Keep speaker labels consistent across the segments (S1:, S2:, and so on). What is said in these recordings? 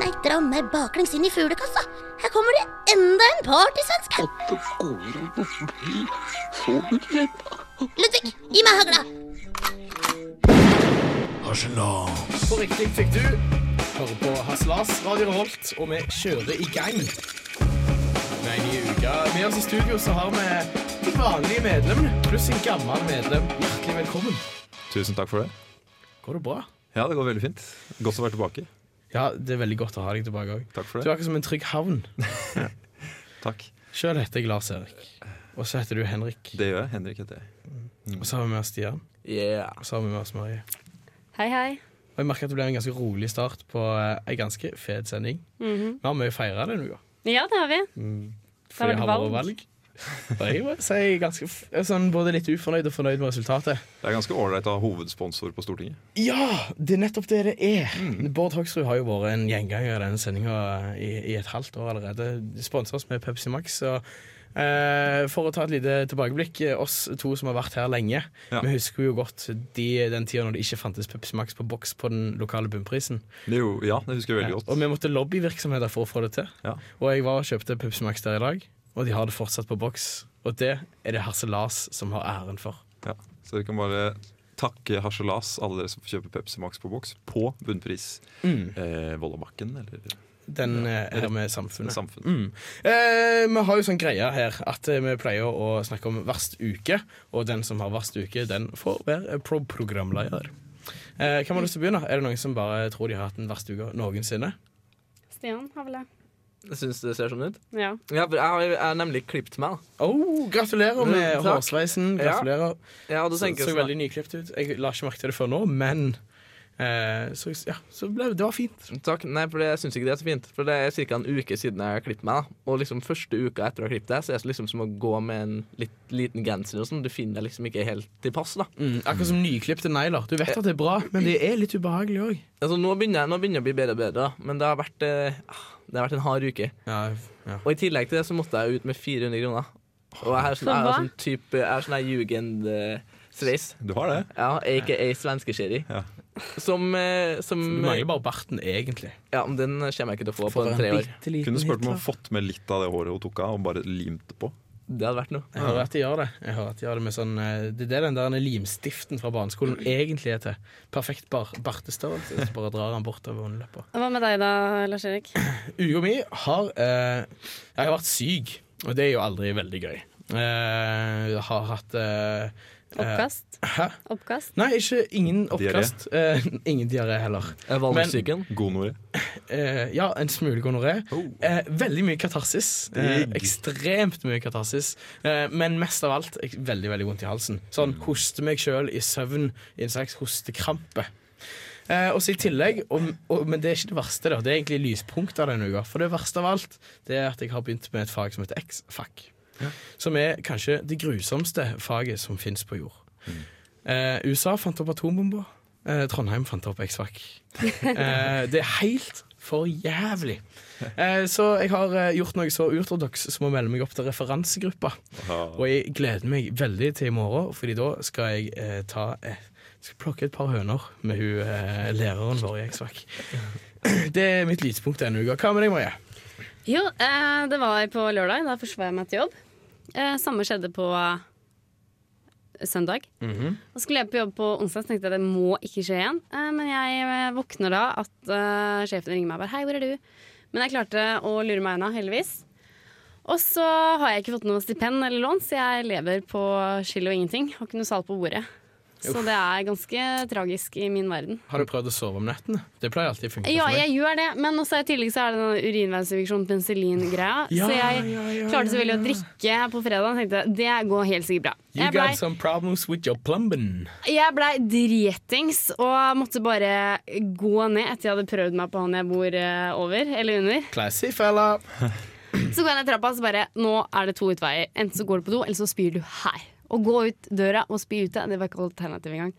S1: Nei, dra meg baklengs inn i fuglekassa. Her kommer det enda en partysvenske.
S2: At det går an å bli så redd.
S1: Ludvig, gi meg hagla.
S3: Arsenal.
S4: På riktig fikk du høre på Haslas Radio Revolt, og vi kjører i gang. Med en ny uke. Med oss i studio så har vi de vanlige medlemmene, pluss en gammel medlem. Hjertelig velkommen.
S5: Tusen takk for det.
S4: Går det bra?
S5: Ja, det går veldig fint. Godt å være tilbake.
S4: Ja, det er veldig godt å ha deg tilbake òg.
S5: Takk
S4: Du
S5: for
S4: er
S5: det.
S4: akkurat som en trygg havn.
S5: Takk.
S4: Sjøl heter jeg Lars Erik. Og så heter du Henrik.
S5: Det gjør jeg. Henrik heter jeg.
S4: Og så har vi med oss Stian.
S3: Yeah.
S4: Og så har vi med oss Marie.
S6: Hei, hei.
S4: Og jeg merker at det ble en ganske rolig start på eh, en ganske fet sending. Vi har mye å feire denne uka.
S6: Ja, det har vi. vært
S4: Fordi han var
S6: valg.
S4: valg. Og jeg må si jeg er ganske, f- jeg er sånn både litt ufornøyd og fornøyd med resultatet.
S5: Det er ganske ålreit å ha hovedsponsor på Stortinget.
S4: Ja, det er nettopp det det er. Bård Hoksrud har jo vært en gjenganger i denne sendinga i, i et halvt år allerede. Sponsa oss med Pepsi Max. Og, eh, for å ta et lite tilbakeblikk, eh, oss to som har vært her lenge,
S5: Ja.
S4: vi husker jo godt de, den tida når det ikke fantes Pepsi Max på boks på den lokale bunnprisen.
S5: Det er jo, ja, det husker jeg veldig
S4: Og
S5: godt.
S4: vi måtte lobbyvirksomheter for å få det til.
S5: Ja.
S4: Og jeg var og kjøpte Pepsi Max der i dag, og de har det fortsatt på boks. Og det er det Hasse Lars som har æren for.
S5: Ja. Så dere kan bare takke Harselas, alle dere som kjøper Pepsi Max på boks, på bunnpris.
S3: Mm.
S5: Eh, Vollabakken eller
S4: Den eh, er med samfunnet.
S5: samfunn.
S4: Mm. Eh, vi har jo sånn greie her at eh, vi pleier å snakke om verst uke, og den som har verst uke, den får være eh, pro- programleder. Eh, hvem har lyst til å begynne? Er det noen som bare tror de har hatt den verste uka noensinne?
S6: Stian har vel det.
S3: Jeg syns det ser sånn ut.
S6: Ja.
S3: Ja, for jeg har jeg har nemlig klippet meg. da.
S4: Oh, gratulerer med
S3: Mm, takk.
S4: hårsveisen.
S3: Ja.
S4: Gratulerer.
S3: Jeg hadde
S4: Så,
S3: senket
S4: så
S3: sånn-
S4: veldig nyklipt ut. Jeg la ikke merke til det før nå, men eh, så, ja, så ble, det var fint.
S3: Takk. Nei, for det, jeg syns ikke det er så fint. For det er ca. en uke siden jeg har klippet meg. da. Og liksom første uka etter å ha klippet deg, så er det liksom som å gå med en litt, liten genser og sånn. Du finner deg liksom ikke helt til pass, da.
S4: Mm, Akkurat
S3: Mm.
S4: som nyklipte negler. Du vet at det er bra, men det er litt ubehagelig òg.
S3: Altså, nå begynner, jeg, nå begynner jeg å bli bedre og bedre, da. Men det har vært, eh, ah, det har vært en hard uke.
S4: Ja, ja.
S3: Og i tillegg til det så måtte jeg ut med 400 kroner. Og jeg har sånn, jeg har
S6: hva?
S3: sånn type Jeg har sånn her jugend-sveis.
S5: Mm. Du har det?
S3: Ja, aka svenskeskjeri.
S5: Ja.
S3: Som, eh, som
S4: Du mangler bare barten, egentlig.
S3: Ja, men den kommer jeg ikke til å få på tre år.
S5: Kunne spurt om hun har fått med litt av det håret hun tok av, og bare limt det på.
S3: Det hadde vært noe.
S4: Jeg hører at de gjør det. Jeg hører at de gjør Det med sånn eh, Det er det den der limstiften fra barneskolen egentlig er til. Perfekt bar bartestørrelse. Så bare drar han bortover håndleppa.
S6: Hva med deg da, Lars Erik?
S4: Uka mi har eh, Jeg har vært syk, og det er jo aldri veldig gøy. Eh, jeg har hatt eh,
S6: Oppkast?
S4: Hæ?
S6: Oppkast?
S4: Nei, ikke ingen
S5: Diaré.
S4: oppkast. Eh, ingen diaré heller.
S3: Valgsyken.
S5: Gonoré.
S4: Eh, ja, en smule gonoré.
S5: Oh.
S4: Eh, veldig mye katarsis. Eh,
S5: Digg.
S4: ekstremt mye katarsis. Eh, men mest av alt jeg, veldig veldig vondt i halsen. Sånn hoste meg sjøl i søvn i en slags hostekrampe. Eh, også i tillegg, og, og, Men det er ikke det verste. da Det er egentlig lyspunkter denne uka. For det verste av alt Det er at jeg har begynt med et fag som heter X-fag. Som er kanskje det grusomste faget som fins på jord. Eh, USA fant opp atombomber. Eh, Trondheim fant opp X-Fac. Eh, det er helt for jævlig. Eh, så jeg har eh, gjort noe så uortodoks som å melde meg opp til referansegruppa. Og jeg gleder meg veldig til i morgen, Fordi da skal jeg eh, ta eh, Skal plukke et par høner med hun eh, læreren vår i X-Fac. Det er mitt lyspunkt denne uka. Hva med deg, Marie?
S6: Jo, eh, det var på lørdag. Da forsvar jeg meg til jobb. Eh, samme skjedde på eh, søndag. Og skulle jeg på jobb på onsdag, så tenkte jeg det må ikke skje igjen. Eh, men jeg eh, våkner da at eh, sjefen ringer meg og bare 'hei, hvor er du?' Men jeg klarte å lure meg unna, heldigvis. Og så har jeg ikke fått noe stipend eller lån, så jeg lever på skyld og ingenting. Har ikke noe salt på bordet. Så det er ganske tragisk i min verden.
S4: Har du prøvd å sove om nettene? Det pleier alltid å funke
S6: Ja,
S4: for meg.
S6: jeg gjør det, men også i tillegg så er det den urinveisinfeksjon, penicillin-greya.
S4: Ja,
S6: så jeg
S4: ja, ja,
S6: klarte
S4: ja,
S6: selvfølgelig å drikke på fredag og tenkte det går helt sikkert bra.
S4: You
S6: Jeg blei
S4: got some problems with your plumbing.
S6: jeg ble dritings og måtte bare gå ned etter jeg hadde prøvd meg på han jeg bor eh, over, eller under.
S4: Classy fella.
S6: Så går jeg ned trappa og så bare Nå er det to utveier. Enten så går du på do, eller så spyr du her. Å gå ut døra og spy ute, det var ikke alternativ engang.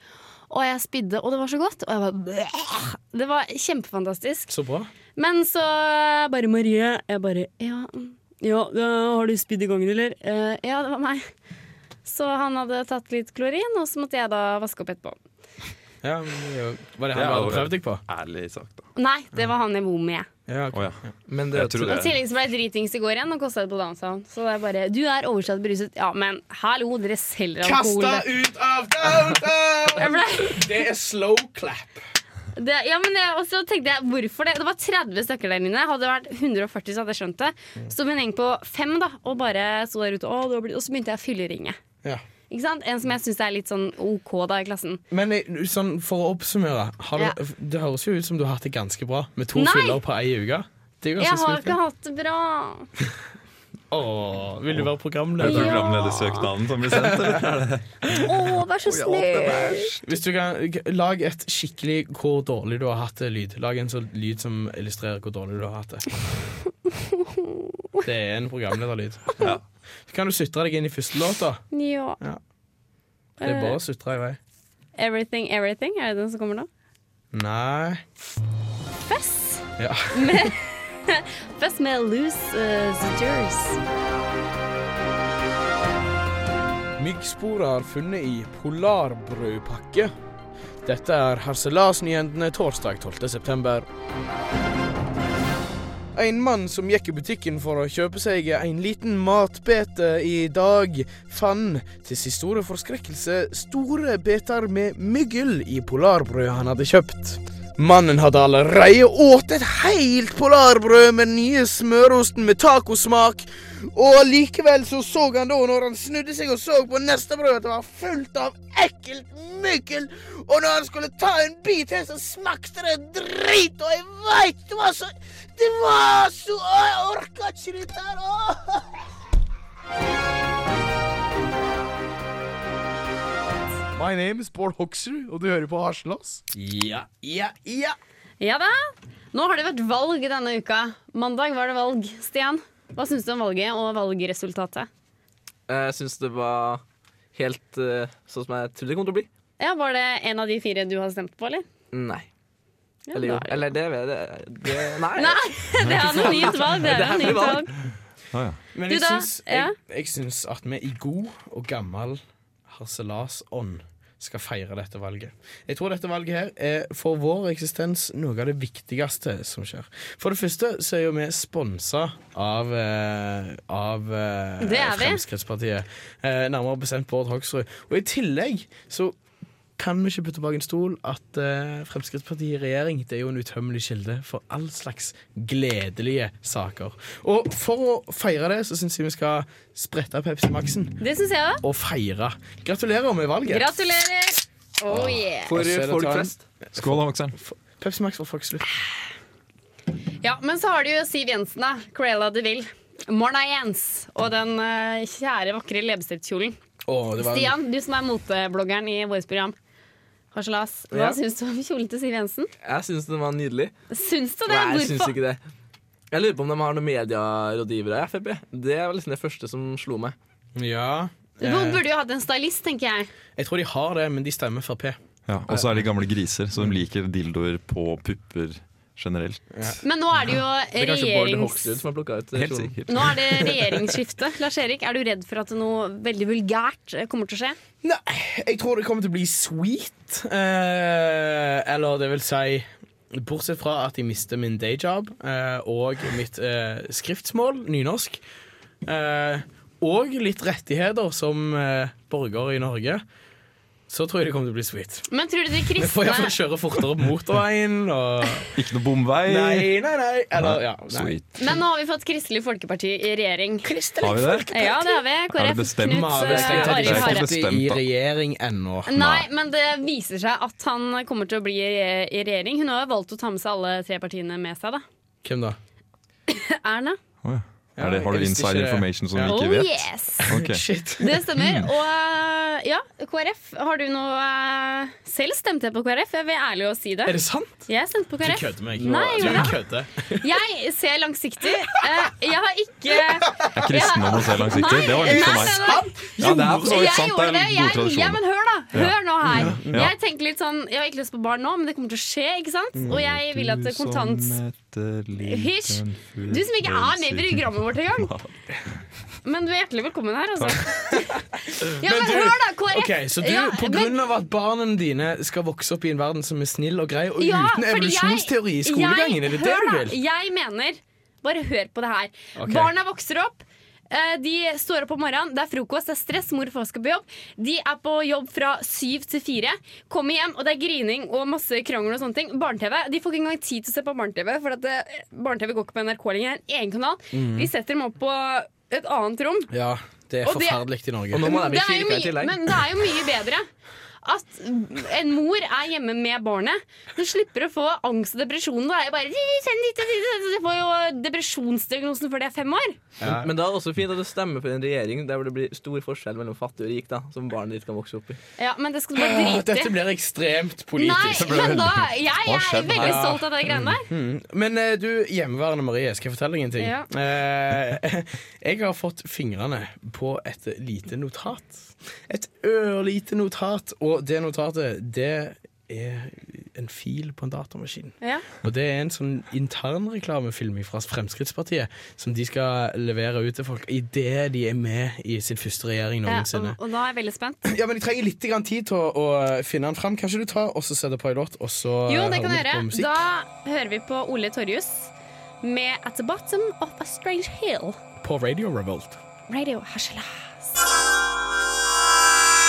S6: Og jeg spydde, og det var så godt. Og jeg bare "Bleh." Det var kjempefantastisk.
S4: Så bra.
S6: Men så bare Marie Jeg bare Ja, ja da har du spydd i gangen, eller? «Eh, ja, det var meg. Så han hadde tatt litt klorin, og så måtte jeg da vaske opp etterpå.
S4: Ja, men det er jo- var det han
S5: Ja,
S4: du hadde
S5: og-
S4: prøvd deg på?
S5: Ærlig sagt, da.
S6: Nei, det var han jeg bor med.
S4: Ja,
S5: Å
S4: ok.
S5: ja.
S3: Men det,
S5: Jeg tror
S6: Og
S5: det.
S6: I tillegg så ble jeg dritings i går igjen og kosta det på downtown. Så det er bare Du er overstadig beruset. Ja, men hallo, dere selger alkohol.
S4: Kasta ut av downtown!
S6: Jeg ble-
S4: Det er slow clap.
S6: Det, ja, men jeg, og så tenkte jeg, hvorfor det? Det var 30 stykker der inne. Hadde det vært 140, så hadde jeg skjønt det. Så min gjeng på fem da, og bare sto der ute. Å, det var blitt- og så begynte jeg å fylleringe.
S4: Ja.
S6: Ikke sant? En som jeg syns er litt sånn OK da i klassen.
S4: Men eh, sånn, for å oppsummere har du,
S6: Ja.
S4: Det høres jo ut som du har hatt det ganske bra med to
S6: Nei!
S4: fyller på ei uke. Det er jo
S6: Jeg
S4: ganske
S6: har
S4: smilt.
S6: ikke hatt det bra.
S4: Åh, vil du være
S5: Er det
S4: programleder?
S6: Ja.
S5: programledersøknaden som blir sendt, eller?
S6: Å, vær så snill.
S4: Hvis du kan, g- Lag et skikkelig hvor dårlig du har hatt det lyd. Lag en sånn lyd som illustrerer hvor dårlig du har hatt det. Det er en programlederlyd.
S5: Ja.
S4: Så Kan du sutre deg inn i første låt, da?
S6: Ja.
S4: Ja. Det
S6: Eh.
S4: er bare å sutre i vei.
S6: Everything, everything. Er det den som kommer nå?
S4: Nei
S6: Fess.
S4: Ja.
S6: Fess med Loose uh, the Jurors.
S4: Myggspor er funnet i polarbrødpakke. Dette er Harselasnyhendene torsdag 12. september. En mann som gikk i butikken for å kjøpe seg en liten matbete i dag, fant til sin store forskrekkelse store beter med myggel i polarbrødet han hadde kjøpt. Mannen hadde allerede åt et helt polarbrød med den nye smørosten med tacosmak, og likevel så så han da, når han snudde seg og så på neste brød, at det var fullt av ekkelt myggel. Og når han skulle ta en bit til, så smakte det drit. Og jeg veit det var så Det var så Å, jeg orka ikke dette her. Åh. My name is Bård Hoksrud, og du hører på Harselas. Ja, ja, ja.
S6: Ja da. Nå har det vært valg denne uka. Mandag var det valg. Stian, hva syns du om valget og valgresultatet?
S3: jeg syns det var helt eh, sånn som jeg trodde det kom til å bli.
S6: Ja, Var det en av de fire du har stemt på, eller?
S3: Nei.
S6: Ja,
S3: Eller jo.
S6: da er
S3: Eller det, det, det Nei.
S6: Nei, det er anonymt valg. Det
S3: Det
S6: er anonymt
S3: er hemmelig
S6: valg.
S5: Å ja.
S4: Men
S6: Du
S4: jeg
S6: da?
S4: syns,
S6: Ja.
S4: jeg, jeg syns at vi i god og gammel harselasånd skal feire dette valget. Jeg tror dette valget her er for vår eksistens noe av det viktigste som skjer. For det første så er jo vi sponsa av, eh, av eh,
S6: Det er vi.
S4: Fremskrittspartiet. Eh, nærmere bestemt Bård Hoksrud. Og i tillegg så kan vi ikke putte bak en stol at eh, Fremskrittspartiet i regjering det er jo en utømmelig kilde for all slags gledelige saker. Og for å feire det, så syns jeg vi skal sprette Pepsi Max-en
S6: Det syns jeg òg.
S4: og feire. Gratulerer med valget.
S6: Gratulerer. Oh yeah.
S3: For
S4: Jeg ser det
S3: folk
S4: tar en-
S3: flest.
S5: Skål da, Vokseren.
S4: Pepsi Max var faktisk slutt.
S6: Ja, men så har du jo Siv Jensen, da. Cruella de Vil. Morna Jens og den eh, kjære, vakre leppestiftkjolen.
S4: Å, det var-
S6: Stian, du som er motebloggeren i vårt program. Harselas, hva
S3: Ja.
S6: syns du om kjolen til Siv Jensen?
S3: Jeg syns den var nydelig.
S6: Syns du det?
S3: Nei, jeg syns
S6: Hvorfor?
S3: ikke det. Jeg lurer på om de har noen medierådgivere i Frp. Det var liksom det første som slo meg.
S4: Ja.
S6: Du burde jo hatt en stylist, tenker jeg.
S4: Jeg tror de har det, men de stemmer Frp.
S5: Ja, og så er de gamle griser, så de liker dildoer på pupper generelt.
S6: Men nå er det jo
S3: Det er kanskje Bård
S6: regjerings...
S3: Hoksrud som har plukka ut eh,
S5: Helt
S3: kjolen.
S5: sikkert.
S6: Nå er det regjeringsskifte. Lars Erik, er du redd for at noe veldig vulgært eh, kommer til å skje?
S4: Nei, jeg tror det kommer til å bli sweet. Eh, eller det vil si Bortsett fra at jeg mister min dayjob eh, og mitt eh, skriftsmål, nynorsk. Eh, og litt rettigheter som eh, borger i Norge. Så tror jeg det kommer til å bli sweet.
S6: Men tror du de
S4: Vi får
S6: kristne
S4: iallfall kjøre fortere på motorveien og
S5: Ikke noe bomvei.
S4: Nei, nei, nei. Eller, ja, nei.
S5: Sweet.
S6: Men nå har vi fått Kristelig Folkeparti i regjering.
S5: Har vi det?
S6: Ja, det har vi.
S5: Er det
S6: KrF,
S5: bestemt?
S6: Knut
S4: Mave
S6: eh,
S4: stengte
S5: Det er
S6: Arild
S5: ikke
S6: Hareide.
S5: bestemt.
S4: ikke i regjering ennå.
S6: Nei, men det viser seg at han kommer til å bli i i regjering. Hun har jo valgt å ta med seg alle tre partiene med seg, da.
S4: Hvem da?
S6: Erna.
S5: Å ja. Er det, har
S4: Ja, jeg
S5: du
S4: visste
S5: inside
S4: ikke det.
S5: information som vi
S6: Oh
S5: ikke vet? Mm.
S6: yes!
S5: Ok.
S4: Shit.
S6: Det stemmer. Og eh, ja, KrF. Har du noe eh, Selv stemte jeg på KrF, jeg vil ærlig å si det.
S4: Er det sant?
S6: Jeg stemte på KrF.
S4: meg.
S6: Nei,
S4: Du
S6: men-
S4: kødder.
S6: Jeg ser langsiktig. Eh, Jeg har ikke
S5: Er kristendom å se langsiktig?
S6: Nei,
S5: Det var litt for
S6: nei,
S5: meg.
S6: nei, nei.
S5: Ja, det er for så
S6: Jeg
S5: vidt sant. Det
S6: gjorde
S5: er
S6: det.
S5: en god
S6: Jeg, ja,
S5: tradisjon.
S6: men hør, da. Hør nå her.
S5: Ja.
S6: Jeg tenker litt sånn Jeg har ikke lyst på barn nå, men det kommer til å skje, ikke sant? Og jeg vil at kontant Du som ikke er med i programmet programmet vårt i gang. Men du er hjertelig velkommen her, altså. Ja,
S4: Men
S6: men
S4: du-
S6: hør da, Kåre.
S4: Ok, Så du,
S6: Ja,
S4: på
S6: men-
S4: grunn av at barna dine skal vokse opp i en verden som er snill og grei, og
S6: Ja,
S4: uten
S6: fordi jeg-
S4: evolusjonsteori i skolegangen, er det det
S6: hør
S4: du
S6: da,
S4: vil?
S6: Jeg mener Bare hør på det her.
S4: Ok.
S6: Barna vokser opp. eh, De står opp om morgenen, det er frokost, det er stress, mor og far skal på jobb. De er på jobb fra syv til fire. Kommer hjem, og det er grining og masse krangel og sånne ting. Barne-TV. De får ikke engang tid til å se på barne-TV, for at eh, barne-TV går ikke på NRK lenger. Det er En egen kanal.
S4: Mm.
S6: De setter dem opp på et annet rom.
S4: Ja, det er
S6: Og det-
S4: forferdelig i Norge.
S3: Og nå må de
S6: Det
S3: i
S6: er jo
S3: kirka i
S6: mye-
S3: tillegg.
S6: Men det er jo mye bedre at en mor er hjemme med barnet. Du slipper å få angst og depresjon. Da er jo bare Du får jo depresjonsdiagnosen før de er fem år.
S4: Ja.
S3: Men, men da er det også fint at du stemmer for en regjering der hvor det blir stor forskjell mellom fattig og rik, da, som barnet ditt kan vokse opp i.
S6: Ja, men det skal du bare
S4: Åh,
S6: drite
S4: Dette
S6: i.
S4: blir ekstremt
S6: Nei,
S4: politisk.
S6: men da Jeg
S5: Hva
S6: er
S5: skjedde her?
S6: veldig stolt av de greiene der.
S4: Men eh, du, hjemmeværende Marie, skal jeg fortelle deg en ting?
S6: Ja.
S4: Eh, jeg har fått fingrene på et lite notat. Et ørlite notat, og det notatet, det er en fil på en datamaskin.
S6: Ja.
S4: Og det er en sånn internreklamefilm fra Fremskrittspartiet som de skal levere ut til folk idet de er med i sin første regjering
S6: Ja,
S4: noensinne.
S6: og, og da er jeg veldig spent.
S4: Ja, men Jeg trenger litt grann tid til å, å finne den fram. Kanskje du tar og så setter på en låt, og så
S6: Jo, det kan jeg
S4: hører vi litt
S6: gjøre.
S4: på musikk?
S6: Da hører vi på Ole Torjus med 'At the Bottom of a Strange Hill'.
S4: På Radio Revolt.
S6: Radio Hasjelas.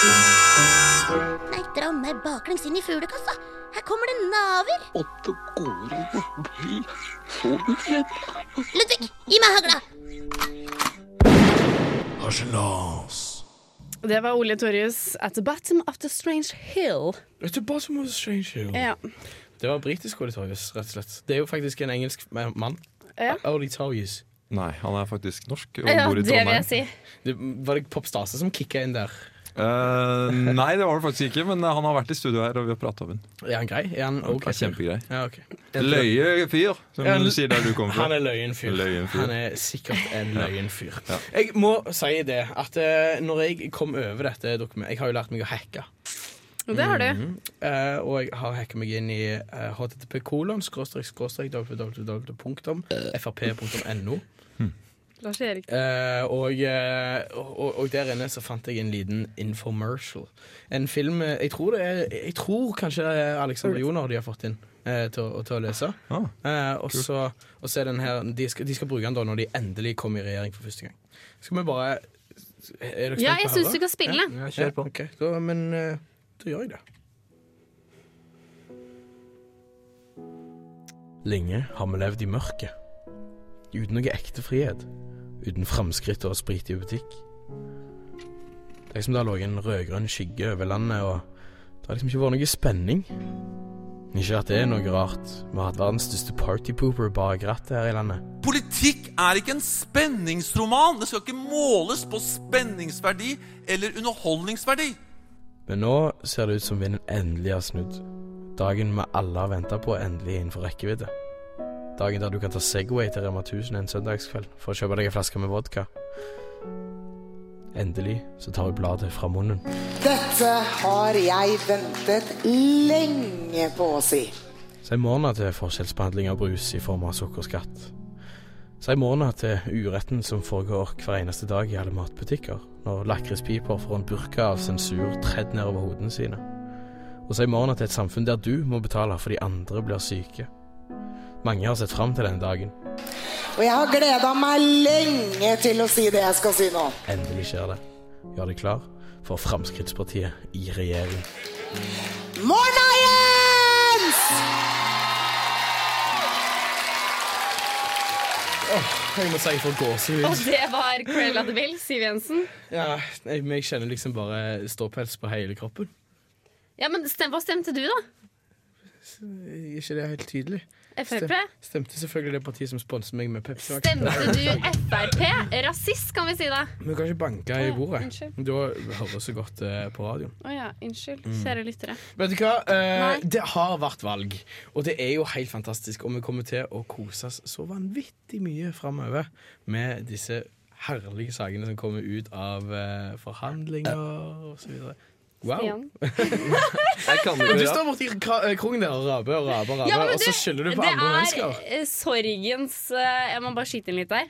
S1: Nei, dra meg baklengs inn i fuglekassa. Her kommer det naver.
S2: Åtte gode år blir solbrent.
S1: Ludvig, gi meg hagla.
S6: Det var Ole Torjus 'At the Bottom of the Strange Hill'.
S4: Vet du, Bottom of the Strange Hill.
S6: Ja.
S4: Det var britisk Olitorius, rett og slett. Det er jo faktisk en engelsk mann.
S6: Ja.
S4: Olitorius.
S5: Nei, han er faktisk norsk og
S6: Ja,
S5: bor i
S6: det vil jeg
S5: Trondheim.
S6: si.
S4: Det var det Pop Stase som kicka inn der?
S5: Eh, nei, det var det faktisk ikke, men han har vært i studio her, og vi har prata med han.
S4: Er han grei? Er han ok?
S5: Han er kjempegrei.
S4: Ja, ok.
S5: Løye fyr, som
S4: Ja,
S5: du sier der du kommer fra.
S4: Han er løyen fyr.
S5: Løyen fyr.
S4: Han er sikkert en løyen fyr. Jeg må si det at eh, når jeg kom over dette dokumentet Jeg har jo lært meg å hacke.
S6: Og Det har du.
S4: Eh, og jeg har hacka meg inn i uh, http kolon skråstrek skråstrek www.frp.no.
S6: Lars Erik.
S4: Eh, og, eh, og, og der inne så fant jeg en liten infomercial. En film eh, Jeg tror, det er, jeg tror kanskje det er Alexander Joner de har fått inn eh, til, å- til å lese.
S5: Ah,
S4: Eh, og, så, og så er den her de skal, de skal bruke den da når de endelig kommer i regjering for første gang. Skal vi bare Er dere
S6: Ja, jeg syns du kan
S4: kan
S6: spille.
S3: Ja, kjør på.
S4: da, men eh, da gjør jeg det. Lenge har vi levd i mørket. Uten noe ekte frihet. Uten framskritt og sprit i butikk. Det er som det har ligget en rød-grønn skygge over landet, og det har liksom ikke vært noe spenning. Ikke at det er noe rart. Vi har hatt verdens største partypooper bak rattet her i landet.
S7: Politikk er ikke en spenningsroman. Det skal ikke måles på spenningsverdi eller underholdningsverdi.
S4: Men nå ser det ut som vinden endelig har snudd. Dagen vi alle har venta på, er endelig innenfor rekkevidde. Dagen der du kan ta Segway til Rema 1000 en søndagskveld for å kjøpe deg en flaske med vodka. Endelig så tar vi bladet fra munnen.
S8: Dette har jeg ventet lenge på å si.
S4: Si morna til forskjellsbehandling av brus i form av sukkerskatt. Si morna til uretten som foregår hver eneste dag i alle matbutikker, når lakrispiper får en burka av sensur tredd nedover hodene sine. Og si morna til et samfunn der du må betale fordi andre blir syke. Mange har sett fram til denne dagen.
S8: Og jeg har gleda meg lenge til å si det jeg skal si nå.
S4: Endelig skjer det. Gjør deg klar for Fremskrittspartiet i regjering.
S8: Morna, Jens!
S4: Jeg må si jeg får
S6: Og
S4: gåsehud.
S6: det var Cruella de Vil, Siv Jensen.
S4: Ja, jeg, jeg kjenner liksom bare ståpels på hele kroppen.
S6: Ja, men stem, Hva stemte du, da?
S4: Er ikke det helt tydelig?
S6: Frp?
S4: Stem- Stemte selvfølgelig det partiet som sponset meg med Pepsi Max.
S6: Stemte du Frp? Rasist, kan vi si da.
S4: Vi kan ikke banke i bordet.
S6: Unnskyld.
S4: Da høres det godt eh, på radioen.
S6: Å ja, unnskyld, kjære lyttere.
S4: Vet du hva? Eh,
S6: Nei.
S4: det har vært valg, og det er jo helt fantastisk. Og vi kommer til å kose oss så vanvittig mye framover med disse herlige sakene som kommer ut av eh, forhandlinger og så videre. Wow.
S6: Stian.
S3: Jeg kan
S4: Men
S3: ikke
S4: Du
S3: dra.
S4: står borti kra- kroken der og raper og raper, og raper
S6: Ja, men
S9: altså,
S4: og så skylder du på
S6: det
S4: andre
S6: er
S4: mennesker.
S6: eh, sorgens eh, Jeg må bare skyte inn litt der.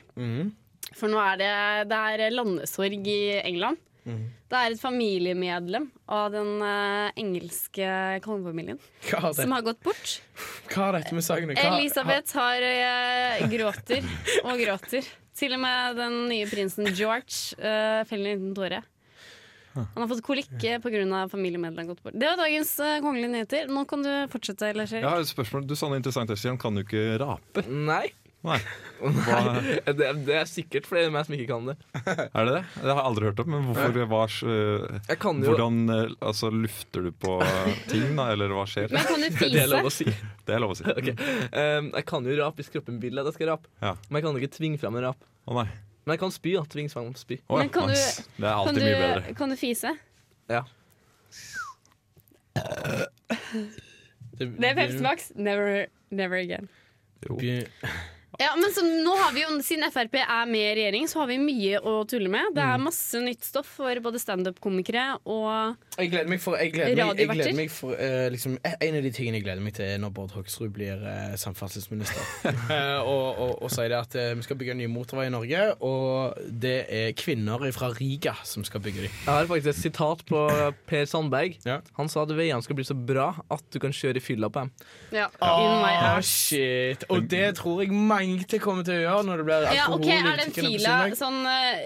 S6: For nå er det, det er landesorg i England. Det er et familiemedlem av den eh, engelske kongefamilien
S9: Hva har det-
S6: som har gått bort.
S9: hva har dette med saken å gjøre?
S6: Elisabeth har, eh, gråter og gråter. Til og med den nye prinsen George eh, feller en liten tåre. Han har fått kolikk eh, pga. familiemedlem gått bort. Det var dagens eh, kongelige nyheter. Nå kan du fortsette. Lars
S5: Jeg
S6: Erik.
S5: har et spørsmål. Du sa noe interessant, Estian. Kan du ikke rape?
S3: Nei.
S5: Nei.
S3: Nei. Det, det er sikkert flere enn meg som ikke kan det.
S5: Er det det? Det har jeg aldri hørt om. Men hvorfor hva s- øh,
S3: Jeg kan jo
S5: Hvordan øh, altså, lufter du på øh, ting, da? Eller hva skjer?
S6: Men kan du
S3: Det er
S6: fise?
S3: lov å si.
S5: Det er lov å si.
S3: Ok. Um, jeg kan jo rape hvis kroppen vil at jeg skal rape.
S5: Ja.
S3: Men jeg kan jo ikke tvinge frem en rap.
S5: Å nei.
S3: Men jeg kan spy. Ja. Tvinge frem spy.
S5: Å,
S6: Men kan du-
S5: nice. Det er
S6: Kan
S5: alltid mye bedre.
S6: du, kan du fise?
S3: Ja.
S6: Det er Pepsi Max. Never, never again.
S9: Be-
S6: Ja, men så, nå har vi jo, Siden Frp er med i regjering, så har vi mye å tulle med. Det er masse nytt stoff for både standup-komikere og
S9: Jeg gleder meg for, jeg gleder meg, jeg
S6: Radioverter.
S9: gleder meg for eh, liksom, En av de tingene jeg gleder meg til, er når Bård Hoksrud blir eh, samferdselsminister. Eh, og, og, og sier det at eh, vi skal bygge en ny motorvei i Norge, og det er kvinner fra Riga som skal bygge dem.
S3: Jeg har faktisk et sitat på Per Sandberg.
S9: Ja.
S3: Han sa at veiene skal bli så bra at du kan kjøre i fylla på dem.
S6: ja, in my
S9: Ah,
S6: ass.
S9: shit. Og det tror jeg mange kommer til å gjøre når det blir
S6: Ja,
S9: alkohol
S6: ok,
S9: i
S6: Er den
S9: butikkene på
S6: fila
S9: søndag.
S6: sånn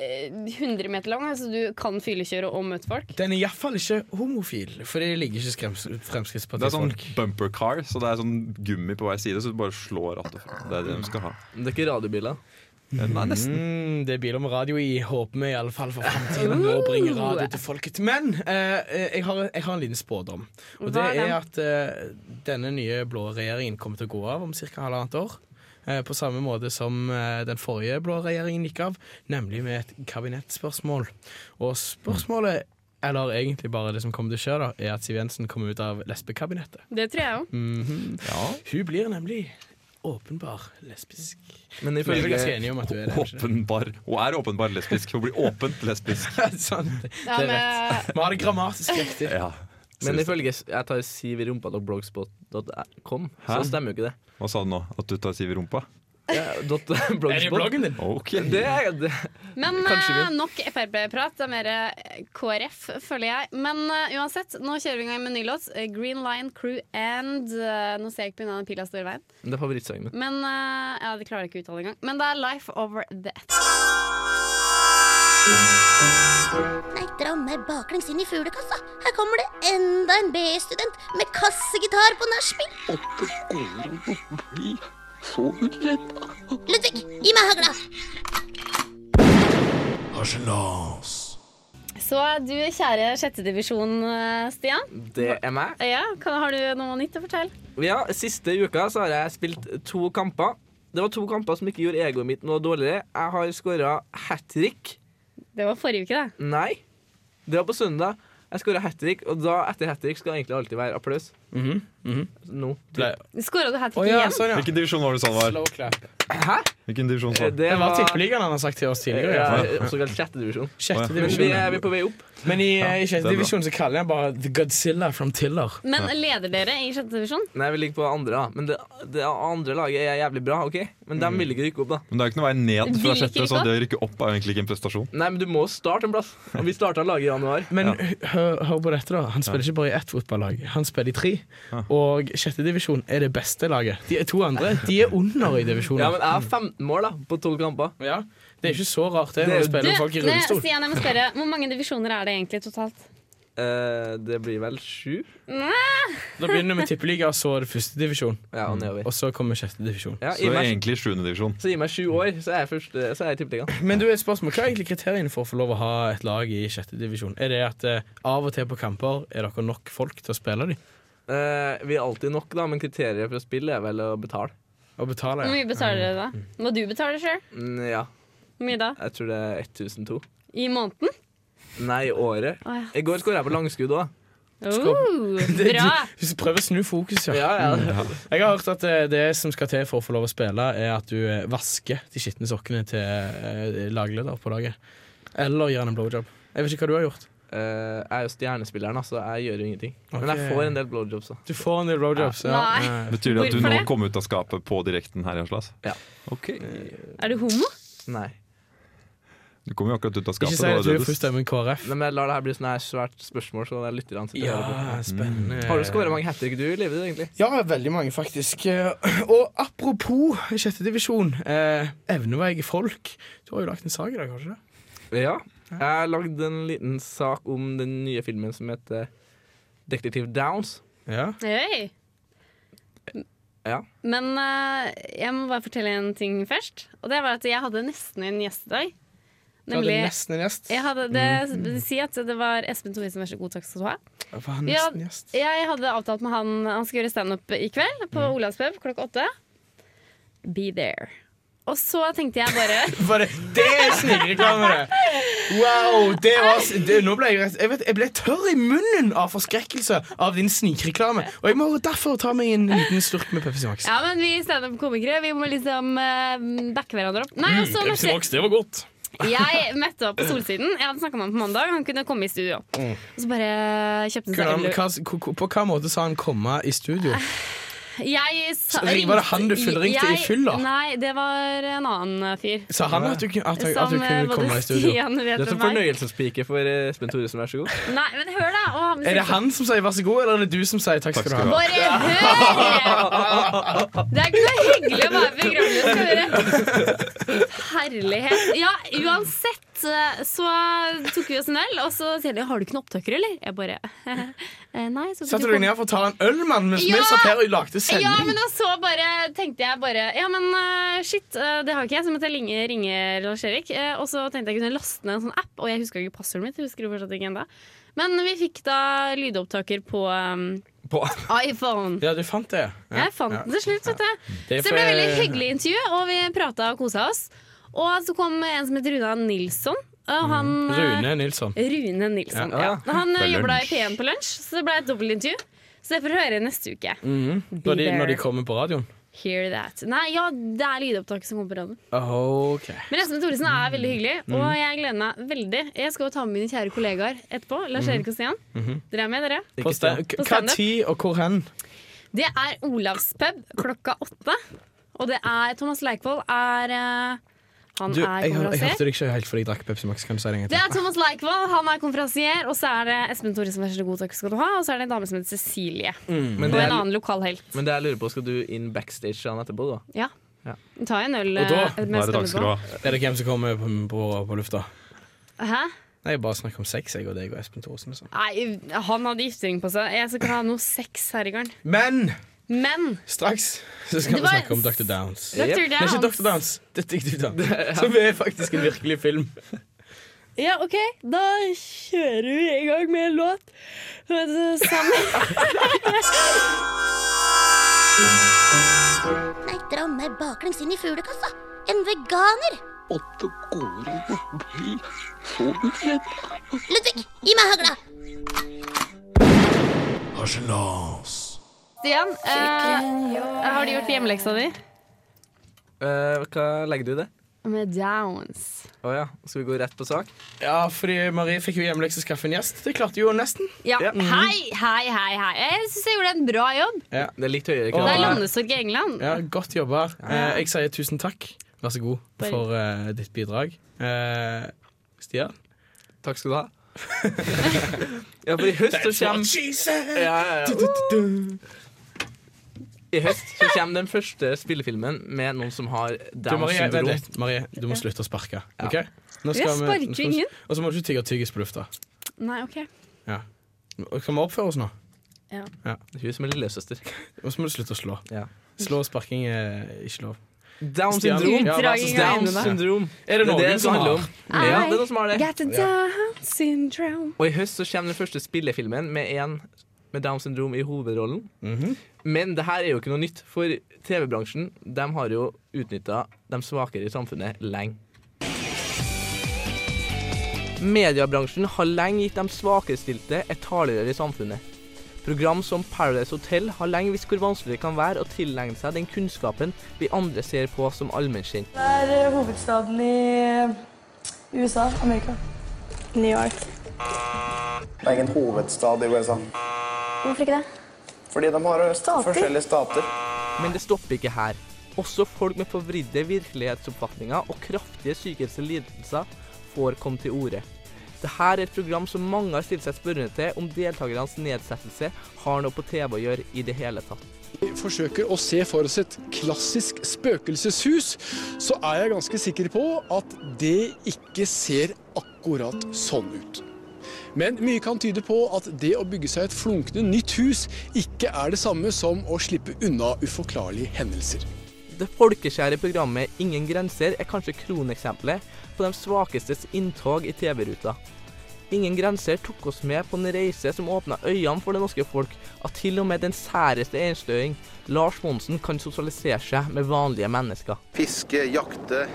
S6: eh, 100 meter lang, så du kan filekjøre og møte folk?
S9: Den er iallfall ikke homofil, for det ligger ikke skrems-
S5: Det er
S9: Fremskrittspartiet
S5: sånn
S9: folk.
S5: bumper car, så det er sånn gummi på hver side, så du bare slår rattet fra. Det er det de skal ha.
S3: Men Det er ikke radiobiler.
S5: Nei, nesten.
S9: Mm, det er biler med radio i, håper vi i alle fall for fremtiden Å bringe
S6: Oh!
S9: radio til folket. Men eh, eh, jeg, har, jeg har en liten spådom. Og det
S6: Hva er den?
S9: er at eh, denne nye blå regjeringen kommer til å gå av om ca. halvannet år. Eh, på samme måte som eh, den forrige blå regjeringen gikk av, nemlig med et kabinettspørsmål. Og spørsmålet, eller egentlig bare det som kommer til å skje, da, er at Siv Jensen kommer ut av lesbekabinettet.
S6: Det tror jeg
S9: Mm.
S6: òg.
S9: Hun blir nemlig åpenbar lesbisk.
S3: Men
S9: Vi er vel ganske
S3: ifølge,
S9: enige om at hun er det. er vi ikke det?
S5: Åpenbar. Hun er åpenbar lesbisk. Hun blir åpent lesbisk.
S9: sånn, det
S6: Ja,
S9: er rett.
S6: men-
S9: Vi har det grammatisk riktig.
S5: Ja.
S3: men ifølge s- jeg tar Siv i rumpa til blogspot.com, så
S5: Hæ?
S3: stemmer jo ikke det.
S5: Hva sa du nå? At du tar Siv i rumpa?
S3: Ja, dot- blogspot.
S9: din?
S5: Ok.
S3: Det er det.
S6: Men
S3: Kanskje vi-
S6: eh, nok Frp-prat. Det er mer eh, KrF, føler jeg. Men eh, uansett, nå kjører vi i gang med en ny låt. Eh, Green Lion Crew and eh, Nå ser jeg ikke på unna den pila står i veien.
S3: Det er favorittsangen min.
S6: Men eh, ja, det klarer jeg ikke å uttale engang. Men det er Life Over The At.
S1: Nei, dra meg baklengs inn i fuglekassa. Her kommer det enda en BI-student med kassegitar på nachspiel.
S10: Åtte skoler og noen fly. Så vil de redde.
S1: Ludvig, gi meg hagla.
S6: Så du kjære sjettedivisjon, eh, Stian. Eh,
S3: Det er meg.
S6: Ja, kan, har du noe nytt å fortelle?
S3: Ja, Siste uka så har jeg spilt to kamper. Det var to kamper som ikke gjorde egoet mitt noe dårligere. Jeg har skåra hat trick.
S6: Det var forrige uke, det.
S3: Nei, det var på søndag. Jeg skåra hat trick, og da etter hat trick skal det egentlig alltid være applaus. Nå.
S9: Ble-
S6: Skåra du hat
S9: Å
S6: trick
S9: ja,
S6: igjen?
S9: sånn, ja.
S5: Hvilken divisjon var det, Salvar?
S9: Slow clap.
S3: Hæ?
S5: Hvilken divisjon sa
S3: Eh,
S5: du?
S3: Det
S9: Det var tippeligaen han har sagt til oss tidligere. i hvert fall.
S3: Ja, Også kalt sjette divisjon. Men
S9: Sjette
S3: vi
S9: divisjon.
S3: er, vi er på vei opp.
S9: Men i, eh, i
S5: det er
S9: sjette
S5: bra.
S9: divisjon så kaller jeg han bare The Godzilla from Tiller.
S6: Men leder dere i sjettedivisjon?
S3: Nei, vi ligger på andre, da. Men det, det andre laget er jævlig bra, OK? Men de vil ikke rykke opp, da.
S5: Men det er jo ikke noe vei ned
S6: Vil
S5: fra
S6: ikke
S5: sjette,
S6: rykke
S5: så
S6: opp?
S5: det å rykke opp er jo egentlig ikke en prestasjon.
S3: Nei, men du må starte en plass. Og vi starta laget i januar.
S9: Men hør, hør på dette, da. Han spiller ikke bare i ett fotballag, han spiller i tre. Og sjette divisjon er det beste laget. De to andre de er under i
S3: Ja, men
S9: divisjonen.
S3: jeg har 15 mål da, på 12 kamper.
S9: Ja, det er ikke så rart, det,
S3: Det
S9: når
S3: er-
S9: du spiller med folk i
S6: nei,
S9: rullestol.
S6: Stian, jeg må spørre, Hvor mange divisjoner er det egentlig totalt?
S3: Eh, det blir vel sju?
S9: Da begynner vi med tippeliga, så er det første divisjon,
S3: Ja, og nedover.
S9: og så kommer sjette divisjon.
S3: Ja,
S5: Så
S3: gi
S5: det er
S3: meg,
S5: egentlig sjuende divisjon.
S3: så gi meg sju år, så er jeg, første, så er jeg i tippeligaen.
S9: Men du, et spørsmål. Hva er egentlig kriteriene for å få lov å ha et lag i sjette divisjon? Er det at eh, av og til på kamper er dere nok folk til å spille dem?
S3: Eh, vi er alltid nok, da, men kriteriet for å spille er vel å betale.
S9: Og betale?
S6: Hvor
S9: ja.
S6: mye betaler dere da? Må du betale sjøl?
S3: Mm, ja,
S6: Hvor mye da?
S3: jeg tror det er 1002.
S6: I måneden?
S3: Nei, i året.
S6: Å, ja.
S3: I går skåra jeg på langskudd òg.
S6: Oh,
S9: Det-
S6: bra!
S9: Du, du prøver å snu fokus, ja.
S3: Ja, ja.
S9: Jeg har hørt at eh, det som skal til for å få lov å spille, er at du eh, vasker de skitne sokkene til eh, lagleder på laget. Eller gir han en blowjob. Jeg vet ikke hva du har gjort.
S3: Eh, jeg er jo stjernespilleren, da, så jeg gjør jo ingenting. Men jeg
S9: Ok.
S3: får en del blowjobs. da.
S9: Du får en del blowjobs. Ja. Eh,
S6: Nei.
S5: Betyr det at du
S6: Hvorfor
S5: nå
S6: det?
S5: kom ut av skapet på direkten her i Oslo?
S3: Ja.
S5: Ok.
S6: Er du homo?
S3: Nei.
S5: Du kom jo akkurat ut av
S9: Ikke
S5: skapet.
S9: si
S5: det var
S9: at du
S5: det
S9: er
S5: du-
S9: først med KrF.
S3: Nei, men jeg lar det her bli sånn her svært spørsmål, så det er lytterne sitter og
S9: Ja,
S3: hører på.
S9: spennende.
S3: Har du skåra mange hat trick du i livet ditt, egentlig?
S9: Ja, veldig mange, faktisk. Eh, Og apropos sjettedivisjon. Eh, evneveige folk. Du har jo lagt en sak i dag, har du ikke det?
S3: Ja. Jeg har lagd en liten sak om den nye filmen som heter Detektiv Downs.
S9: Ja.
S6: Hei.
S3: Ja.
S6: Men eh, jeg må bare fortelle en ting først. Og det var at jeg hadde nesten en gjest i dag.
S9: Du hadde
S6: Nemlig
S9: nesten en gjest.
S6: jeg hadde, det,
S9: Mm-hmm.
S6: Si at det var Espen Thoresen, vær så god, takk skal du ha.
S9: Det var nesten
S6: Ja,
S9: gjest.
S6: jeg hadde avtalt med han Han skal gjøre standup i kveld på
S9: Mm.
S6: Olavspub klokka åtte. Be there. Og så tenkte jeg bare
S9: Var det, det er snikreklame, det! Wow! Det var, s- det, nå ble jeg, rett- jeg, vet, jeg ble tørr i munnen av forskrekkelse av din snikreklame. Og jeg må derfor ta meg en liten slurk med Pepsi Max.
S6: Ja, men vi standup-komikere, vi må liksom eh, backe hverandre opp.
S9: Mm,
S6: Nei, og så møtte jeg,
S9: det var godt.
S6: jeg møtte opp på Solsiden. Jeg hadde snakka med han på mandag. Han kunne komme i studio.
S9: Mm.
S6: Og så bare kjøpte han
S9: Hvordan,
S6: seg øl.
S9: hva, på hvilken måte sa han 'komme i studio'?
S6: Jeg sa-
S9: Så ring- var det han du fullringte i
S6: jeg-
S9: fyll, da?
S6: Nei, det var en annen fyr.
S9: Sa han at du, kunne- at, at du
S6: Som eh,
S9: kunne komme
S6: både
S9: i studio?
S6: Stian
S3: Det
S6: vet
S3: er som
S6: hvem er.
S3: fornøyelsespike for eh, Espen Thoresen, vær så god.
S6: Nei, men hør, da! Og han-
S9: Er det han som sier 'vær så god', eller er det du som sier 'takk skal du ha'?
S6: Bare hør! Det er ikke noe hyggelig å være programleder. Herlighet. Ja, uansett eh, så tok vi oss en øl, og så sier de 'har du ikke noen opptaker', eller? Jeg bare «Eh, Nei. Så
S9: Satte du deg ned for å ta en øl, mann, mens
S6: Ja!
S9: vi satt her og lagde sending?
S6: Ja, men og så bare tenkte jeg bare Ja, men eh, shit, eh, det har ikke jeg, så måtte jeg ringe, ringe Lars Erik. eh, og så tenkte jeg kunne laste ned en sånn app, og jeg husker ikke passordet mitt. jeg husker det fortsatt ikke enda. Men vi fikk da lydopptaker på eh,
S3: På-
S6: iPhone.
S9: Ja, du fant det? Ja.
S6: Jeg fant den til slutt, vet du.
S9: Det er
S6: Så det ble
S9: for-
S6: veldig hyggelig intervju, og vi prata og kosa oss. Og så kom en som het Runa Nilsson. Og han eh,
S9: Rune Nilsson.
S6: Rune Nilsson,
S3: Ja,
S6: ja.
S3: ja.
S6: Han
S5: På
S6: jobber da i
S5: lunsj.
S6: P1 på lunsj, så det ble et dobbeltintervju. Så det får du høre neste uke. Be
S9: Når de, når de
S6: there.
S9: kommer på radioen?
S6: Hear that. Nei, ja, det er lydopptaket som kommer på radioen.
S3: Ah,
S9: Ok.
S6: Men Espen Thoresen er veldig hyggelig, og jeg gleder meg veldig. Jeg skal jo ta med mine kjære kollegaer etterpå. Lars Erik og Stian. Dere er med, dere?
S9: På sta-
S6: På
S9: Hva
S6: standup.
S9: tid og hvor hen?
S6: Det er Olavs pub klokka åtte. Og det er Thomas Leikvoll er eh, Han
S9: Du,
S6: er
S9: jeg, hør- jeg hørte
S6: konferansier.
S9: deg ikke helt fordi jeg drakk Pepsi Max. Kan du si det en gang
S6: Det
S9: til?
S6: er Thomas Leikvoll, han er konferansier. Og så er det Espen Thoresen, vær så god, takk skal du ha. Og så er det en dame som heter Cecilie.
S3: Men
S6: Og en
S3: det, jeg,
S6: annen lokal helt.
S3: men det jeg lurer på, skal du inn backstage han etterpå, da?
S6: Ja.
S3: Ja.
S6: Ta en øl
S9: Og da
S6: eh,
S5: Nå
S6: mens
S5: er det
S6: du
S5: takk skal du
S6: holder på.
S5: ha.
S9: Er det hvem som kommer på, på, på lufta?
S6: Hæ?
S9: Nei, Jeg bare snakker om sex, jeg og deg og Espen Thorsen. og sånn.
S6: Nei, han hadde giftering på seg. Jeg skal ikke ha noe sex her i gården.
S9: Men
S6: Men
S9: straks så
S6: Det
S9: skal vi
S6: var-
S9: snakke om Dr. Downs.
S6: Dr.
S3: Yep.
S9: Det er
S6: Downs
S9: ikke Dr. Downs, Detektiv Downs. Som er faktisk en virkelig film.
S6: Ja, OK. Da kjører vi i gang med en låt. Sammen.
S1: Nei, dra meg baklengs inn i fuglekassa. En veganer.
S11: Åtte gårdene blir forberedt.
S1: Ludvig, gi meg hagla.
S6: Stian, eh, har du gjort hjemmeleksa di?
S3: Eh, hva legger du i det?
S6: Med Downs.
S3: Å ja, skal vi gå rett på sak?
S9: Ja, fordi Marie fikk jo hjemmelekse å skaffe en gjest. Det klarte jo nesten.
S6: Ja.
S3: Ja.
S6: Hei, hei, hei. hei Jeg syns jeg gjorde en bra jobb.
S3: Det er litt høyere
S6: Det
S3: krav.
S6: er landesorg i England.
S9: Ja, Godt jobba. Eh, jeg sier tusen takk. Vær så god
S6: Bare-
S9: for eh, ditt bidrag. Eh, Stian?
S3: Takk skal du ha. ja, for i høst så kommer
S9: Kommer...
S3: ja, ja, ja. I høst så kommer den første spillefilmen med noen som har
S9: Du,
S3: Downs
S9: Marie, vent
S3: syndrom.
S9: litt. Marie, du må slutte å sparke. ok?
S6: Jeg
S9: Nå skal vi- nå
S6: sparker
S9: skal vi-
S6: ingen.
S9: Og så må du ikke tygge tyggis på lufta.
S6: Nei, OK.
S9: Ja. Kan vi oppføre oss nå?
S3: Hun som er lillesøster.
S9: Og så må du slutte å slå.
S3: Ja.
S9: Slå og sparking er ikke lov.
S3: Downs
S9: Stian.
S3: syndrom.
S9: Ja, vær så
S6: Utdraging
S9: snill.
S6: av
S3: Downs
S6: øynene.
S3: syndrom.
S9: Er
S3: det
S9: det noen
S3: det
S9: som
S3: handler
S9: har?
S3: om. Ja, det er noen som har det.
S6: Got a Down syndrome.
S3: Og i høst så kommer den første spillefilmen med en med Downs syndrom i hovedrollen. Men det her er jo ikke noe nytt, for TV-bransjen de har jo utnytta de svakere i samfunnet lenge. Mediebransjen har lenge gitt de svakestilte et talerør i samfunnet. Program som Paradise Hotel har lenge visst hvor vanskelig det kan være å tilegne seg den kunnskapen vi andre ser på som allmennkjent.
S12: Det er hovedstaden i USA, Amerika. New York.
S13: Det er ingen hovedstad i USA.
S12: Hvorfor ikke det?
S13: Fordi de har forskjellige stater.
S3: Men det stopper ikke her. Også folk med forvridde virkelighetsoppfatninger og kraftige psykiske lidelser får komme til orde. Dette er et program som mange har stilt seg spørrende til om deltakernes nedsettelse har noe på TV å gjøre i det hele tatt.
S14: forsøker å se for oss et klassisk spøkelseshus, så er jeg ganske sikker på at det ikke ser akkurat sånn ut. Men mye kan tyde på at det å bygge seg et flunkende nytt hus ikke er det samme som å slippe unna uforklarlige hendelser.
S3: Det folkeskjære programmet Ingen grenser er kanskje kroneksempelet på de svakestes inntog i TV-ruta. Ingen grenser tok oss med på en reise som åpna øynene for det norske folk, at til og med den særeste enstøing, Lars Monsen, kan sosialisere seg med vanlige mennesker.
S15: Fiske, jakte,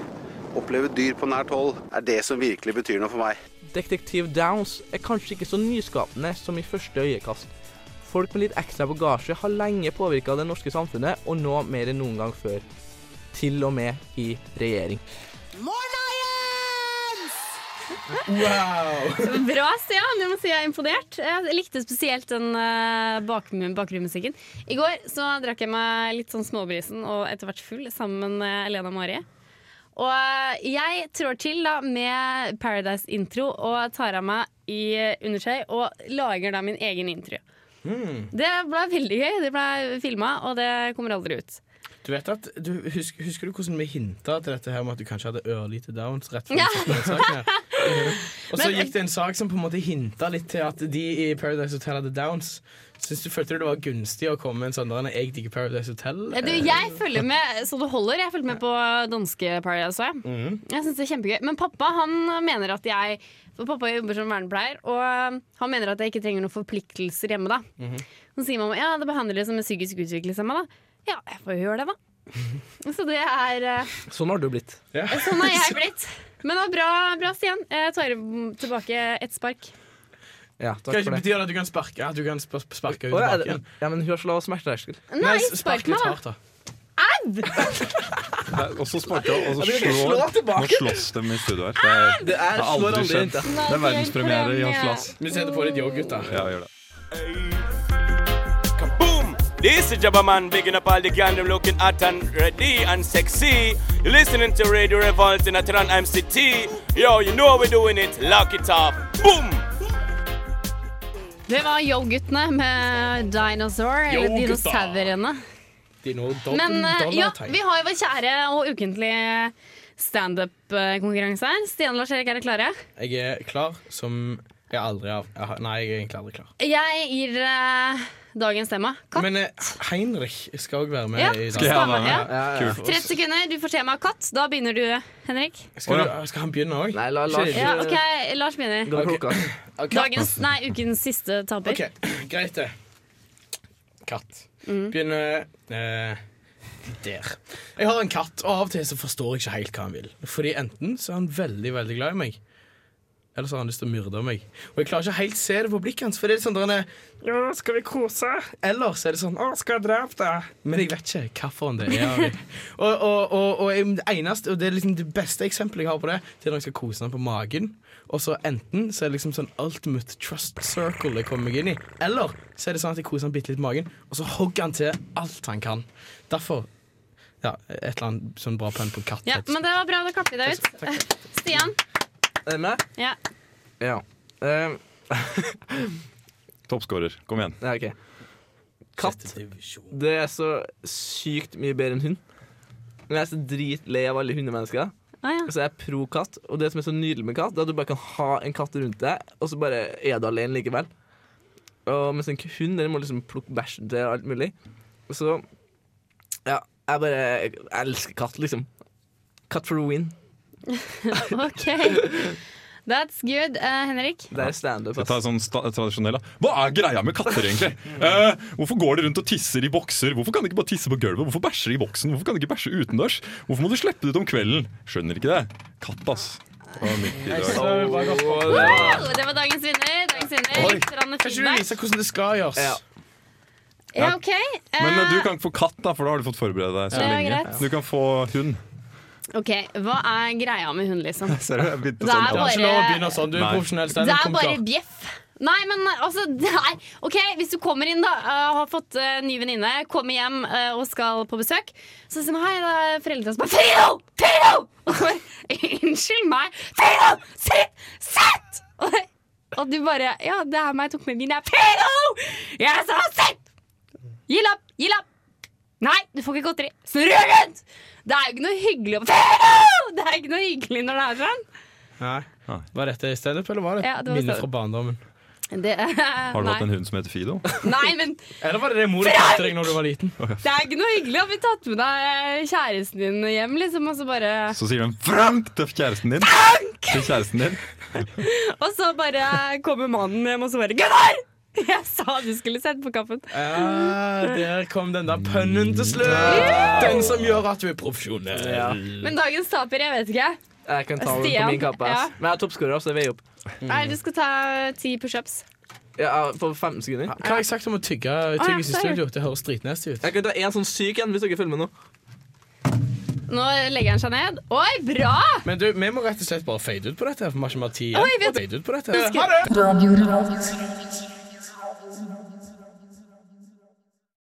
S15: oppleve dyr på nært hold er det som virkelig betyr noe for meg.
S3: Detektiv Downs er kanskje ikke så nyskapende som i første øyekast. Folk med litt ekstra bagasje har lenge påvirka det norske samfunnet, og nå mer enn noen gang før. Til og med i regjering.
S6: Så Bra, Stian. Jeg må si jeg er imponert. Jeg likte spesielt den eh, bakmu- bakgrunnmusikken. I går så drakk jeg meg litt sånn småbrisen og etter hvert full sammen med Elena Marie. Og eh, jeg trår til da med Paradise-intro og tar av meg i eh, undertøy og lager da min egen intro.
S4: Hmm.
S6: Det ble veldig gøy. Det ble filma, og det kommer aldri ut.
S4: Du vet at, du, husker, husker du hvordan vi hinta til dette her med at du kanskje hadde ørlite downs? rett før
S6: Ja.
S4: vi satte den saken her? Og så
S6: Men-
S4: gikk det en sak som på en måte hinta litt til at de i Paradise Hotel hadde downs. Syns du følte du det var gunstig å komme med en sånn der, 'jeg digger Paradise Hotel'?
S6: Du, jeg følger med så det holder. Jeg fulgte med på danske Paradise. Jeg, jeg synes det er kjempegøy Men pappa han mener at jeg For pappa jobber som vernepleier, og um, han mener at jeg ikke trenger noen forpliktelser hjemme. da Så sier mamma ja, det behandler det som en psykisk utviklingshemma. da. Ja, jeg får jo gjøre det, da. Så det er eh,
S3: Sånn har du blitt.
S6: Sånn har jeg blitt. Men det var bra, bra Stian. Jeg tar tilbake ett spark.
S3: Ja,
S4: Skal
S3: takk
S4: ikke
S3: for det.
S4: bety at du kan sparke at du kan sp sp sparke ut
S3: Å, ja,
S4: tilbake
S3: det-
S4: igjen?
S3: ja, men hun har så lav smerteterskel.
S6: Nei, spark meg, da.
S4: da.
S5: Nei, Og så sparka og så
S3: Ja, du kan
S5: slår
S3: slå tilbake.
S5: Nå slåss de i studio her. Det er,
S3: Det er-
S5: det har
S3: slår
S5: aldri
S3: aldri
S5: skjedd.
S3: rundt, ja.
S5: Det er verdenspremiere i Hans Lass.
S4: Vi setter på litt yoghurt, da.
S5: Ja, gjør det.
S9: Kaboom! This is Jabba Man, bigging up all the gang, them looking hot and ready and sexy. You're listening to Radio Revolt in Atran MCT. Yo, you know how we're doing it. Lock it up. Boom!
S6: Det var Yo-guttene med Dinosaur, eller
S4: Yo, gutta.
S6: Dinosaurene.
S4: Dino Don-
S6: Men eh, ja,
S4: Donateng.
S6: vi har jo vår kjære og ukentlige standup-konkurranse her. Stian Lars Erik, er dere klare?
S4: Jeg er klar som jeg aldri har jeg har- Nei, jeg er egentlig aldri klar.
S6: Jeg gir eh, dagens tema. Katt.
S4: Men eh, Heinrich skal òg være med.
S6: Ja,
S4: i dag.
S6: Skal jeg være med? Ja.
S4: Kult.
S6: 30 sekunder, du får tema katt. Da begynner du, Henrik.
S4: Skal, du, skal han begynne òg? Nei, la
S6: Ja, OK, Lars begynner. Dagens, nei, ukens siste taper.
S4: Greit, det. Katt.
S6: Mm.
S4: Begynner eh, der. Jeg har en katt, og av og til så forstår jeg ikke helt hva han vil. Fordi enten så er han veldig, veldig glad i meg, eller så har han lyst til å myrde meg. Og jeg klarer ikke helt se det på blikket hans, for det er sånn der han er Ja, skal vi kose? Eller så er det sånn Å, skal jeg drepe deg? Men jeg vet ikke hvilken det er. av meg. og, og, og, og, jeg- det eneste, og det er liksom det beste eksempelet jeg har på det, Det er når jeg skal kose den på magen. Og så enten så er det liksom sånn ultimate trust circle jeg kommer meg inn i, eller så er det sånn at jeg koser den bitte litt på magen, og så hogger han til alt han kan. Derfor ja, et eller annet sånn bra pønn på katt.
S6: Ja, men det var bra, da klapper vi deg ut. Stian.
S3: Er du med?
S6: Ja.
S3: Ja. Ehm,
S5: Toppskårer. Kom igjen.
S3: ja, OK. Katt. Det er så sykt mye bedre enn hund. Men jeg er så dritlei av alle hundemennesker.
S6: Ah, ja.
S3: Så jeg er pro katt. Og det som er så nydelig med katt, Det er at du bare kan ha en katt rundt deg, og så bare er du alene likevel. Og mens en hund den må liksom plukke bæsjen til og alt mulig. Og Så ja, jeg bare jeg elsker katt, liksom. Katt for the win.
S6: OK. That's good. Eh, Henrik?
S3: Det er standup.
S5: Jeg tar sånn sta tradisjonell da. Hva er greia med katter, egentlig? Eh, hvorfor går de rundt og tisser i bokser? Hvorfor kan de ikke bare tisse på gulvet? Hvorfor bæsjer de i boksen? Hvorfor kan de ikke bæsje utendørs? Hvorfor må du slippe det ut om kvelden? Skjønner ikke det. Katt, ass. Det var mitt i dag.
S6: Wow, Oh, det var dagens vinner. Dagens vinner.
S5: Oi.
S6: Strande
S4: Kan ikke du
S6: Finnberg.
S4: vise hvordan det skal gjøres?
S6: Ja, OK.
S5: Men eh,
S6: Eh,
S5: du kan ikke få katt, da, for da har du fått forberede deg så
S6: Ja,
S5: lenge.
S6: greit.
S5: Du kan få hund.
S6: Ok, Hva er greia med hund, liksom?
S5: Ser du, jeg begynte
S6: Det er
S5: sånn.
S6: bare-
S4: Ikke lov å begynne sånn. Du er
S5: Nei.
S4: profesjonell
S6: Det er
S4: standup-komiker.
S6: bare bjeff. Nei, men altså nei. OK, hvis du kommer inn, da, og har fått eh, ny venninne, kommer hjem eh, og skal på besøk, så sier man hei, det er foreldrene som bare Fido! Fido! Og så bare Unnskyld meg. Fido! Sitt! Sitt! Og, og du bare Ja, det er meg jeg tok med min. Jeg Fido! Jeg sa sitt! Gi lapp! Gi lapp! Nei, du får ikke godteri. Snurr rundt! Det er jo ikke noe hyggelig å Fido! Det er ikke noe hyggelig når det er sånn.
S4: Nei. Var dette standup, eller var det,
S6: Ja,
S4: ja,
S6: det var
S4: minne
S6: standup.
S4: fra barndommen?
S6: Det,
S5: Har du hatt en hund som heter Fido?
S6: Nei, men
S4: Eller var det det mor kalte deg når du var liten?
S6: Det er ikke noe hyggelig å bli tatt med deg eh, kjæresten din hjem, liksom, og så bare
S5: Så sier den 'Frank' til kjæresten din. Til kjæresten din.
S6: Og så bare kommer mannen hjem, og så bare Gunnar! Jeg sa du skulle sette på kaffen.
S5: Eh.
S4: Ja, der kom den der pønnen til slutt! Den som gjør at du er profesjonell.
S6: Men dagens taper, jeg vet ikke.
S3: Jeg kan ta over på
S6: Stian,
S3: min kappe. ass.
S6: ja.
S3: Men jeg er toppskårer, så det veier opp.
S5: Mm.
S6: Nei, du skal ta ti pushups.
S3: Ja, på 15 sekunder.
S4: Hva har jeg sagt om å tygge
S6: ja,
S4: tyggis i
S6: sorry.
S4: studio? Det høres dritnasty ut.
S3: Jeg kan ta en sånn syk en hvis dere følger med nå.
S6: Nå legger han seg ned. Oi, bra!
S4: Men du, vi må rett og slett bare fade ut på dette. her, For vi har ikke mer tid
S6: Oi,
S4: igjen.
S6: vet-
S4: Fade ut på dette.
S6: Husker-
S4: her. Ha det!